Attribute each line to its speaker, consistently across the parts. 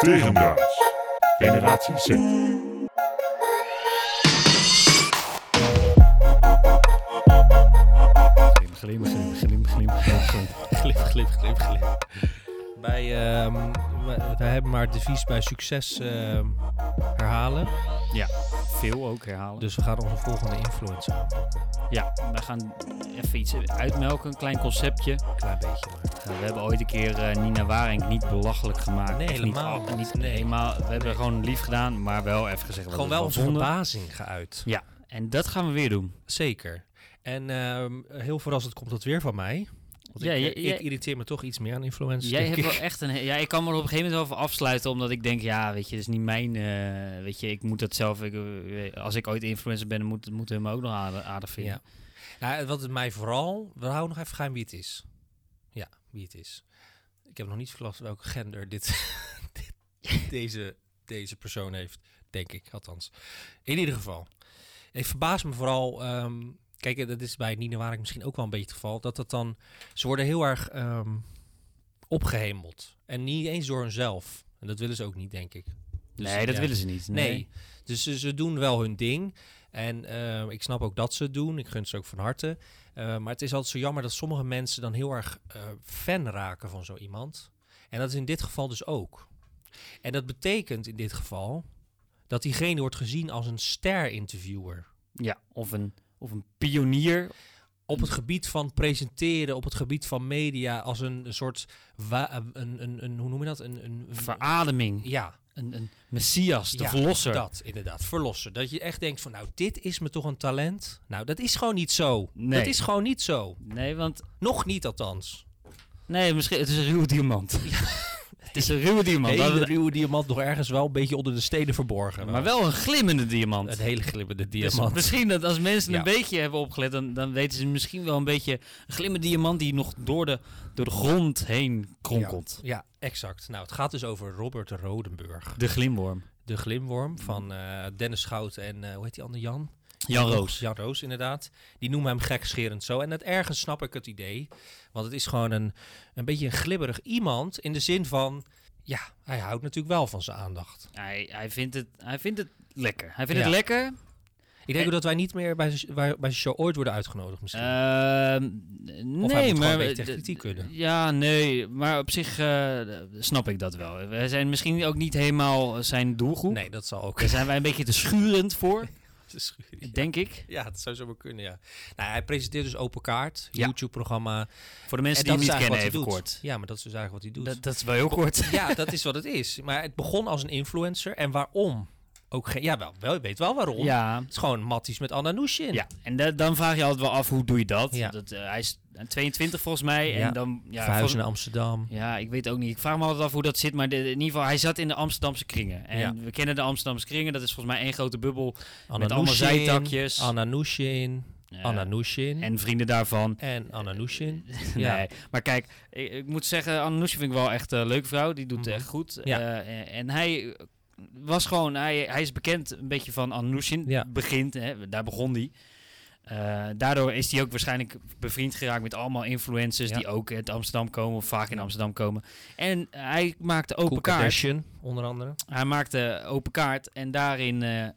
Speaker 1: Tegendraads. Generatie Z.
Speaker 2: Glim, glim, glim, glim, glim, glim.
Speaker 3: Glip, glip, glip, glip. Bij, ehm, we- wij hebben maar het devies bij succes ehm, herhalen.
Speaker 2: Ja, veel ook herhalen.
Speaker 3: Dus we gaan onze volgende influencer aanpakken.
Speaker 2: ja, we gaan even iets uitmelken, een klein conceptje.
Speaker 3: Een klein beetje maar.
Speaker 2: Eh, we hebben ooit een keer eh, Nina Waring niet belachelijk gemaakt.
Speaker 3: Nee,
Speaker 2: Of
Speaker 3: helemaal
Speaker 2: Niet, al- niet
Speaker 3: niet. Nee.
Speaker 2: helemaal. We hebben gewoon lief gedaan, maar wel even gezegd wat
Speaker 3: Gewoon
Speaker 2: we ervan
Speaker 3: wel onze
Speaker 2: vonden.
Speaker 3: verbazing geuit.
Speaker 2: Ja, en dat gaan we weer doen.
Speaker 3: Zeker. En ehm, heel verrassend komt dat weer van mij. Want
Speaker 2: Ja,
Speaker 3: ik,
Speaker 2: jij-
Speaker 3: eh,
Speaker 2: jij-
Speaker 3: ik irriteer me toch iets meer aan influencers.
Speaker 2: Jij
Speaker 3: denk
Speaker 2: hebt wel
Speaker 3: ik.
Speaker 2: echt een. he- Ja, ik kan me er op een gegeven moment over afsluiten, omdat ik denk, ja, weet je, dat is niet mijn. eh, weet je, ik moet dat zelf. Ik, eh, als ik ooit influencer ben, dan moet, moeten we me ook nog aardig, aardig vinden.
Speaker 3: Ja. Nou, wat het mij vooral... We houden nog even geheim wie het is. Ja, wie het is. Ik heb nog niet verlast welk gender dit, dit- deze, deze persoon heeft. Denk ik, althans. In ieder geval. Ik verbaas me vooral... ehm, kijk, eh, dat is bij Nina Waring misschien ook wel een beetje het geval. Dat dat dan... Ze worden heel erg ehm, opgehemeld. En niet eens door hunzelf. En dat willen ze ook niet, denk ik. Dus,
Speaker 2: nee, dat
Speaker 3: ja.
Speaker 2: willen ze niet.
Speaker 3: Nee. Dus ze, ze doen wel hun ding. En eh, ik snap ook dat ze het doen. Ik gun ze ook van harte. Eh, maar het is altijd zo jammer dat sommige mensen dan heel erg eh, fan raken van zo iemand. En dat is in dit geval dus ook. En dat betekent in dit geval dat diegene wordt gezien als een ster-interviewer.
Speaker 2: Ja, of een, of een pionier.
Speaker 3: Op het gebied van presenteren, op het gebied van media, als een, een soort. wa- een, een, een, hoe noem je dat? Een, een, een-
Speaker 2: Verademing.
Speaker 3: ja,
Speaker 2: Een, een messias, de
Speaker 3: Ja,
Speaker 2: verlosser.
Speaker 3: Dat, inderdaad. Verlosser. Dat je echt denkt van, nou, dit is me toch een talent? Nou, dat is gewoon niet zo.
Speaker 2: Nee.
Speaker 3: Dat is gewoon niet zo.
Speaker 2: Nee, want...
Speaker 3: Nog niet althans.
Speaker 2: Nee, misschien... Het is een ruwe diamant. het is een ruwe diamant.
Speaker 3: Een hele
Speaker 2: maar,
Speaker 3: ruwe diamant nog ergens wel een beetje onder de steden verborgen.
Speaker 2: maar wel een glimmende diamant.
Speaker 3: Een hele glimmende
Speaker 2: Dus
Speaker 3: diamant.
Speaker 2: misschien dat als mensen
Speaker 3: Ja.
Speaker 2: een beetje hebben opgelet, dan, dan weten ze misschien wel een beetje... Een glimmende diamant die nog door de, door de grond heen kronkelt.
Speaker 3: ja, exact. Nou, het gaat dus over Robert Rodenburg.
Speaker 2: De glimworm.
Speaker 3: De glimworm van eh, Dennis Schout en, eh, hoe heet die andere, Jan?
Speaker 2: Jan Roos.
Speaker 3: Jan Roos, inderdaad. Die noemen hem gekscherend zo. En dat ergens snap ik het idee. Want het is gewoon een, een beetje een glibberig iemand. In de zin van, ja, hij houdt natuurlijk wel van zijn aandacht.
Speaker 2: Hij, hij, vindt het, hij vindt het lekker. Hij vindt
Speaker 3: Ja.
Speaker 2: het lekker.
Speaker 3: Ik denk ook dat wij niet meer bij, z- waar- bij zijn show ooit worden uitgenodigd misschien.
Speaker 2: Ehm,
Speaker 3: moet
Speaker 2: nee,
Speaker 3: gewoon
Speaker 2: maar
Speaker 3: een beetje tegen
Speaker 2: d-
Speaker 3: kritiek kunnen.
Speaker 2: Ja, nee, maar op zich eh, snap ik dat wel. We zijn misschien ook niet helemaal zijn doelgroep.
Speaker 3: nee, dat zal ook.
Speaker 2: Daar zijn wij een beetje te schurend voor, denk ik.
Speaker 3: Ja, dat zou zo maar kunnen, ja. Nou, hij presenteert dus Open Kaart,
Speaker 2: Ja.
Speaker 3: YouTube-programma.
Speaker 2: Voor de mensen
Speaker 3: En dat
Speaker 2: die
Speaker 3: is
Speaker 2: hem niet
Speaker 3: eigenlijk
Speaker 2: kennen,
Speaker 3: wat hij
Speaker 2: even
Speaker 3: doet.
Speaker 2: kort.
Speaker 3: Ja, maar dat is dus eigenlijk wat hij doet.
Speaker 2: Dat, dat is wel heel kort.
Speaker 3: Ja, dat is wat het is. Maar het begon als een influencer. En waarom? Ook geen, ja, wel, wel, je weet wel waarom.
Speaker 2: Ja,
Speaker 3: Het is gewoon Matties met Anna Nushin.
Speaker 2: ja. en da- dan vraag je altijd wel af, hoe doe je dat?
Speaker 3: Ja.
Speaker 2: dat eh, hij is 22 volgens mij.
Speaker 3: Ja.
Speaker 2: En dan, ja,
Speaker 3: Verhuizen
Speaker 2: vol-
Speaker 3: naar Amsterdam.
Speaker 2: Ja, ik weet ook niet. Ik vraag me altijd af hoe dat zit. Maar de- in ieder geval, hij zat in de Amsterdamse kringen. En
Speaker 3: Ja. Oh,
Speaker 2: we kennen de Amsterdamse kringen. Dat is volgens mij één grote bubbel.
Speaker 3: Anna
Speaker 2: Met allemaal
Speaker 3: Nushin,
Speaker 2: zijtakjes.
Speaker 3: Anna Nushin,
Speaker 2: Eh,
Speaker 3: Anna Nushin en,
Speaker 2: en eh, vrienden daarvan.
Speaker 3: Anna Nushin.
Speaker 2: Ja.
Speaker 3: Hm? Ja.
Speaker 2: Nee, maar kijk, ik, ik moet zeggen, Anoushi vind ik wel echt een leuke vrouw. Die doet het
Speaker 3: Mhm.
Speaker 2: echt goed.
Speaker 3: Ja.
Speaker 2: Eh, en- en hij was gewoon, hij, hij is bekend een beetje van Anoushi.
Speaker 3: Ja.
Speaker 2: Begint, hè, daar begon hij. Eh, daardoor is hij ook waarschijnlijk bevriend geraakt met allemaal influencers
Speaker 3: Ja.
Speaker 2: die ook uit Amsterdam komen of vaak in
Speaker 3: Ja.
Speaker 2: Amsterdam komen. En hij maakte open
Speaker 3: Koe
Speaker 2: kaart.
Speaker 3: Kardashian, onder andere.
Speaker 2: Hij maakte open kaart en daarin eh, eh,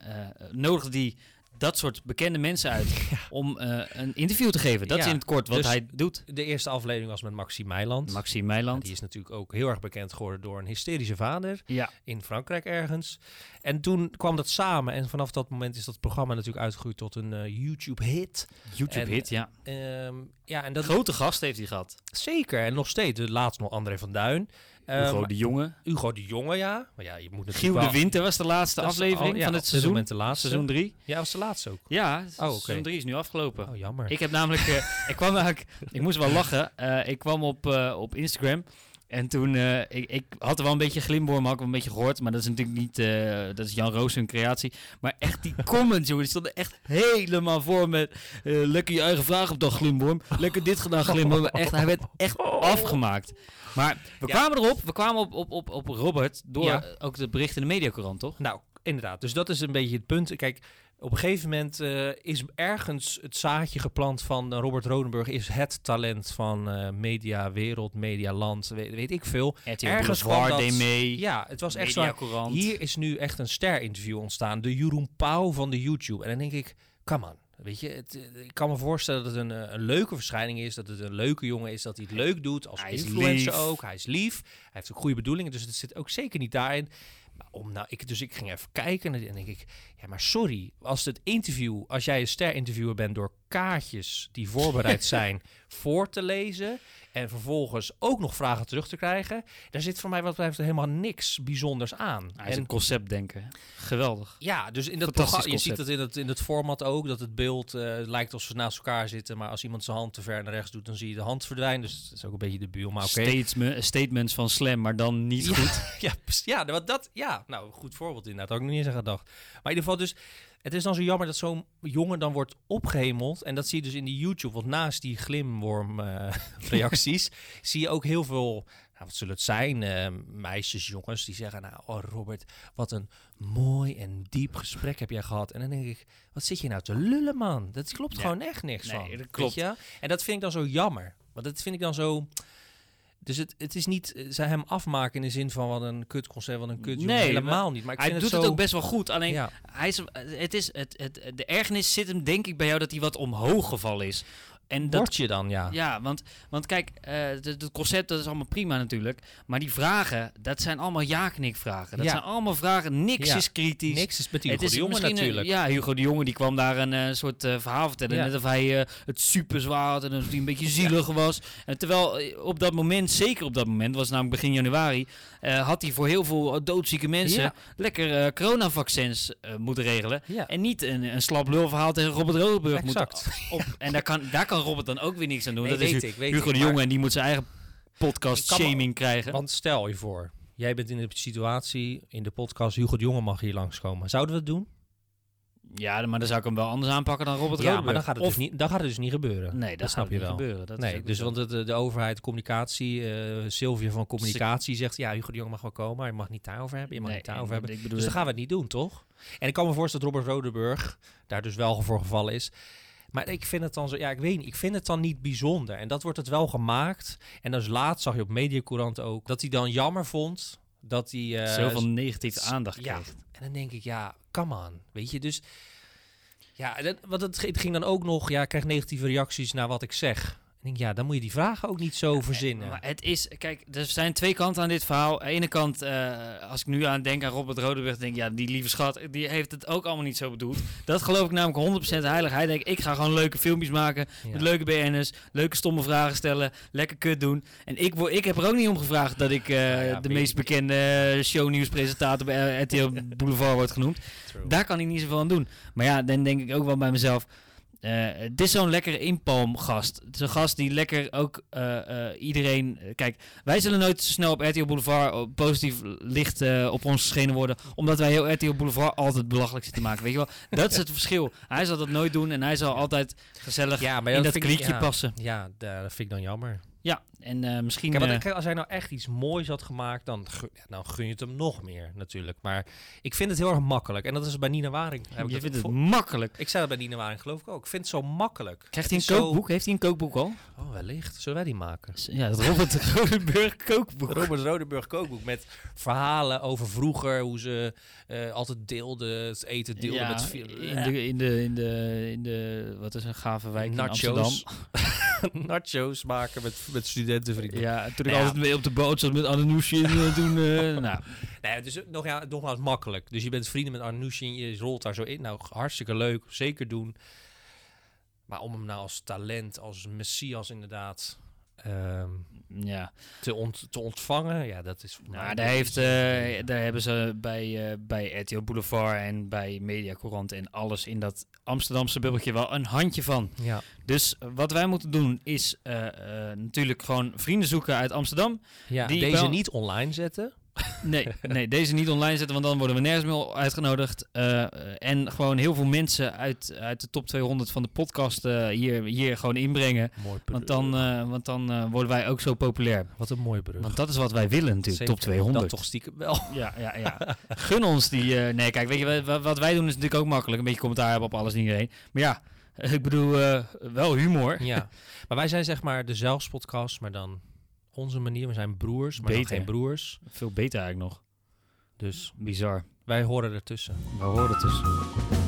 Speaker 2: nodigde hij dat soort bekende mensen uit om eh, een interview te geven. Dat
Speaker 3: Ja.
Speaker 2: is in het kort wat
Speaker 3: Dus-
Speaker 2: hij doet.
Speaker 3: De eerste aflevering was met Maxi Meiland.
Speaker 2: Maxime Meiland.
Speaker 3: Die is natuurlijk ook heel erg bekend geworden door een hysterische vader
Speaker 2: Ja,
Speaker 3: in Frankrijk ergens. En toen kwam dat samen en vanaf dat moment is dat programma natuurlijk uitgegroeid tot een eh, YouTube-hit.
Speaker 2: YouTube
Speaker 3: En-
Speaker 2: hit, ja.
Speaker 3: Ehm, ja, en dat
Speaker 2: Grote gast heeft hij gehad.
Speaker 3: zeker. En nog steeds. De laatste nog André van Duin. Ehm,
Speaker 2: Hugo de Jonge.
Speaker 3: Hugo de Jonge, ja. Maar ja, je moet natuurlijk
Speaker 2: Giel
Speaker 3: wel-
Speaker 2: de Winter was de laatste
Speaker 3: Dat is
Speaker 2: aflevering
Speaker 3: al- ja,
Speaker 2: van
Speaker 3: op
Speaker 2: het
Speaker 3: dit
Speaker 2: seizoen.
Speaker 3: moment de laatste.
Speaker 2: Seizoen 3.
Speaker 3: Ja, was de laatste ook.
Speaker 2: Ja,
Speaker 3: oké.
Speaker 2: seizoen 3 is nu afgelopen.
Speaker 3: Oh, jammer.
Speaker 2: Ik heb namelijk, eh, ik kwam eigenlijk, ik moest wel lachen. Eh, ik kwam op, eh, op Instagram en toen, eh, ik, ik had er wel een beetje glimboor, maar ook wel een beetje gehoord. Maar dat is natuurlijk niet, eh, dat is Jan Roos hun creatie. Maar echt die comments, jongen, die stonden echt helemaal voor met, eh, lekker je eigen vraag op dan glimboor. Lekker dit gedaan glimboor. Echt, hij werd echt afgemaakt. Maar we
Speaker 3: Oh. Ja.
Speaker 2: kwamen erop, we kwamen op, op, op, op Robert door
Speaker 3: Ja.
Speaker 2: eh, ook de bericht in de mediacorant, toch?
Speaker 3: Nou, inderdaad. Dus dat is een beetje het punt. Kijk, Op een gegeven moment eh, is ergens het zaadje geplant van eh, Robert Rodenburg is het talent van eh media, wereld, media, land, weet, weet ik veel.
Speaker 2: RTL
Speaker 3: Ergens
Speaker 2: Ergens
Speaker 3: kwam
Speaker 2: Boulevard
Speaker 3: dat-
Speaker 2: deed mee.
Speaker 3: Ja, het was echt zo.
Speaker 2: Mediacourant.
Speaker 3: Hier is nu echt een ster-interview ontstaan. De Jeroen Pauw van de YouTube. En dan denk ik, come on. Weet je, het, eh, ik kan me voorstellen dat het een, eh, een leuke verschijning is. Dat het een leuke jongen is. Dat hij het leuk doet. Als
Speaker 2: Hij is
Speaker 3: influencer
Speaker 2: lief.
Speaker 3: ook. Hij is lief. Hij heeft ook goede bedoelingen. Dus het zit ook zeker niet daarin. Maar om nou, ik, dus ik ging even kijken. En dan denk ik, ja, maar sorry. Als het interview, als jij een ster-interviewer bent door kaartjes die voorbereid zijn voor te lezen. En vervolgens ook nog vragen terug te krijgen. Daar zit voor mij wat betreft helemaal niks bijzonders aan.
Speaker 2: Hij is
Speaker 3: En-
Speaker 2: een concept denken. Geweldig.
Speaker 3: ja, dus in dat
Speaker 2: Fantastisch
Speaker 3: programma, je ziet
Speaker 2: concept.
Speaker 3: dat in het, in het format ook, dat het beeld eh, lijkt alsof ze naast elkaar zitten, maar als iemand zijn hand te ver naar rechts doet, dan zie je de hand verdwijnen. Dus dat is ook een beetje debiel, maar oké.
Speaker 2: Statement- statements van Slam, maar dan niet
Speaker 3: Ja.
Speaker 2: goed.
Speaker 3: Ja, precies. ja, want dat, ja, nou, een goed voorbeeld inderdaad, had ik nog niet eens aan gedacht. Maar in ieder geval dus, het is dan zo jammer dat zo'n jongen dan wordt opgehemeld. En dat zie je dus in die YouTube, want naast die glimworm eh, reacties, zie je ook heel veel, nou, wat zullen het zijn, eh, meisjes, jongens, die zeggen, nou, oh Robert, wat een mooi en diep gesprek heb jij gehad. En dan denk ik, wat zit je nou te lullen, man? Dat klopt
Speaker 2: Ja.
Speaker 3: gewoon echt niks
Speaker 2: Nee,
Speaker 3: van.
Speaker 2: dat
Speaker 3: weet
Speaker 2: klopt.
Speaker 3: je? En dat vind ik dan zo jammer. Want dat vind ik dan zo... Dus het, het is niet eh, ze hem afmaken in de zin van wat een kut concert, wat een kut jongen.
Speaker 2: Nee,
Speaker 3: helemaal niet. Maar ik
Speaker 2: Hij
Speaker 3: vind
Speaker 2: doet het,
Speaker 3: zo-
Speaker 2: ook best wel goed. Alleen,
Speaker 3: Ja.
Speaker 2: hij is, het is, het, het, de ergernis zit hem denk ik bij jou dat hij wat omhoog gevallen is. En dat
Speaker 3: Word je dan, ja.
Speaker 2: Ja, want, want kijk, eh, de- het concept dat is allemaal prima natuurlijk. Maar die vragen, dat zijn allemaal ja-knik-vragen. Dat
Speaker 3: Ja.
Speaker 2: zijn allemaal vragen, niks
Speaker 3: Ja.
Speaker 2: is kritisch.
Speaker 3: Niks is met die
Speaker 2: Het
Speaker 3: goede
Speaker 2: is
Speaker 3: jongen
Speaker 2: misschien een-
Speaker 3: natuurlijk.
Speaker 2: ja, Hugo de Jonge die kwam daar een eh, soort eh, verhaal vertellen.
Speaker 3: Ja.
Speaker 2: Net of hij eh, het super zwaar had en dat hij een beetje zielig was. En terwijl eh, op dat moment, zeker op dat moment, was het namelijk begin januari, eh, had hij voor heel veel eh, doodzieke mensen
Speaker 3: Ja.
Speaker 2: lekker eh, coronavaccins eh, moeten regelen.
Speaker 3: Ja.
Speaker 2: En niet een, een slap lulverhaal tegen Robert Rodenburg moeten
Speaker 3: Exact.
Speaker 2: op. En daar kan, daar kan Robert dan ook weer niks aan doen.
Speaker 3: Nee,
Speaker 2: dat is
Speaker 3: weet
Speaker 2: Hu-
Speaker 3: ik, weet
Speaker 2: Hugo
Speaker 3: ik,
Speaker 2: de
Speaker 3: maar-
Speaker 2: Jonge en die moet zijn eigen podcast
Speaker 3: Ik kan me-
Speaker 2: shaming krijgen.
Speaker 3: Want stel je voor, jij bent in de situatie in de podcast Hugo de Jonge mag hier langskomen. Zouden we het doen?
Speaker 2: Ja, maar dan zou ik hem wel anders aanpakken dan Robert
Speaker 3: ja,
Speaker 2: Rodenburg.
Speaker 3: maar dan gaat het,
Speaker 2: of
Speaker 3: dus, niet, dan gaat het dus niet gebeuren.
Speaker 2: Nee, dat,
Speaker 3: snap
Speaker 2: gaat
Speaker 3: je
Speaker 2: niet
Speaker 3: wel.
Speaker 2: gebeuren. Dat is
Speaker 3: nee,
Speaker 2: ook
Speaker 3: dus
Speaker 2: zo.
Speaker 3: want het, de, de overheid, communicatie, eh Sylvia van communicatie zegt, ja, Hugo de Jonge mag wel komen, maar je mag het niet daarover hebben, je mag
Speaker 2: Nee,
Speaker 3: niet daarover
Speaker 2: en
Speaker 3: hebben.
Speaker 2: Ik bedoel,
Speaker 3: Dus dan gaan we het niet doen, toch? En ik kan me voorstellen dat Robert Rodenburg daar dus wel voor gevallen is. Maar ik vind het dan zo, ja, ik weet niet, ik vind het dan niet bijzonder. En dat wordt het wel gemaakt. En dus laatst zag je op Mediacourant ook dat hij dan jammer vond dat hij... eh,
Speaker 2: zoveel negatieve
Speaker 3: s-
Speaker 2: aandacht
Speaker 3: ja.
Speaker 2: krijgt.
Speaker 3: en dan denk ik, ja, come on. Weet je, dus... Ja, en dat, want het, het ging dan ook nog... Ja, ik kreeg negatieve reacties naar wat ik zeg. En ik denk, ja, dan moet je die vragen ook niet zo verzinnen.
Speaker 2: Maar het is, kijk, er zijn twee kanten aan dit verhaal. Aan de ene kant, eh, als ik nu aan denk aan Robert Rodenburg, denk ik, ja, die lieve schat, die heeft het ook allemaal niet zo bedoeld. Dat geloof ik namelijk 100% heilig. Hij denkt, ik ga gewoon leuke filmpjes maken
Speaker 3: Ja.
Speaker 2: met leuke BN'ers, leuke stomme vragen stellen, lekker kut doen. En ik, wo- ik heb er ook niet om gevraagd dat ik eh,
Speaker 3: Nou ja,
Speaker 2: de
Speaker 3: weet
Speaker 2: meest
Speaker 3: ik.
Speaker 2: bekende eh, shownieuwspresentator bij eh, RTL Boulevard wordt genoemd.
Speaker 3: True.
Speaker 2: Daar kan ik niet zoveel aan doen. Maar ja, dan denk ik ook wel bij mezelf. eh, het is zo'n lekkere inpalmgast. Het is een gast die lekker ook eh, eh, iedereen... Kijk, wij zullen nooit zo snel op RTL Boulevard eh, positief licht eh, op ons geschenen worden. Omdat wij heel RTL Boulevard altijd belachelijk zitten maken. Weet je wel? Dat is het verschil. Hij zal dat nooit doen en hij zal altijd gezellig
Speaker 3: ja, maar
Speaker 2: in dat
Speaker 3: vind ik-
Speaker 2: kliekje
Speaker 3: ja.
Speaker 2: passen.
Speaker 3: Ja, da- dat vind ik dan jammer.
Speaker 2: Ja, en eh, misschien...
Speaker 3: Kijk, want
Speaker 2: eh,
Speaker 3: ik- als hij nou echt iets moois had gemaakt, dan gun, ja, dan gun je het hem nog meer natuurlijk. Maar ik vind het heel erg makkelijk. En dat is bij Nina Waring. Heb ik
Speaker 2: je
Speaker 3: dat
Speaker 2: vindt
Speaker 3: ook
Speaker 2: het
Speaker 3: vo-
Speaker 2: makkelijk.
Speaker 3: Ik zei dat bij Nina Waring, geloof ik ook. Ik vind het zo makkelijk.
Speaker 2: Krijgt hij
Speaker 3: Het
Speaker 2: een
Speaker 3: is zo-
Speaker 2: kookboek? Heeft hij een kookboek al?
Speaker 3: Oh, wellicht. Zullen wij die maken?
Speaker 2: Ja, dat Robert Rodenburg kookboek.
Speaker 3: Robert Rodenburg kookboek met verhalen over vroeger, hoe ze eh, altijd deelden, het eten deelden
Speaker 2: Ja,
Speaker 3: met veel-
Speaker 2: in de, in de, in de, in de, wat is een gave wijk
Speaker 3: nachos,
Speaker 2: in Amsterdam.
Speaker 3: nachos maken met, met studentenvrienden.
Speaker 2: Ja, toen ik
Speaker 3: Nou ja.
Speaker 2: altijd mee op de boot zat met Ananousje en eh, toen, eh, nou,
Speaker 3: Nee, dus nog, ja, nogmaals makkelijk. Dus je bent vrienden met Arnoesje, je rolt daar zo in. Nou, hartstikke leuk, zeker doen. Maar om hem nou als talent, als messias inderdaad ehm,
Speaker 2: ja.
Speaker 3: te, ont- te ontvangen, ja, dat is voor mij
Speaker 2: Nou, daar,
Speaker 3: niet
Speaker 2: heeft,
Speaker 3: zo.
Speaker 2: eh, daar hebben ze bij, eh, bij RTL Boulevard en bij Mediacourant en alles in dat Amsterdamse bubbeltje wel een handje van.
Speaker 3: ja,
Speaker 2: Dus wat wij moeten doen is eh, eh, natuurlijk gewoon vrienden zoeken uit Amsterdam.
Speaker 3: ja
Speaker 2: die
Speaker 3: deze
Speaker 2: wel-
Speaker 3: niet online zetten.
Speaker 2: Nee, nee, deze niet online zetten, want dan worden we nergens meer uitgenodigd. Eh, en gewoon heel veel mensen uit, uit de top 200 van de podcast eh, hier, hier gewoon inbrengen.
Speaker 3: Mooi brug.
Speaker 2: Want dan, eh, want dan eh, worden wij ook zo populair.
Speaker 3: Wat een mooie brug.
Speaker 2: Want dat is wat wij willen natuurlijk, top 200.
Speaker 3: Dat toch stiekem wel.
Speaker 2: Ja, ja, ja. Gun ons die... eh, nee, kijk, weet je, wa- wa- wat wij doen is natuurlijk ook makkelijk. Een beetje commentaar hebben op alles en iedereen. Maar ja, ik bedoel, eh, wel humor.
Speaker 3: Ja. Maar wij zijn zeg maar de zelfspodcast, maar dan onze manier. We zijn broers, maar dan
Speaker 2: Beter.
Speaker 3: geen broers.
Speaker 2: Veel beter eigenlijk nog.
Speaker 3: Dus
Speaker 2: Bizar.
Speaker 3: wij horen ertussen.
Speaker 2: We horen het dus.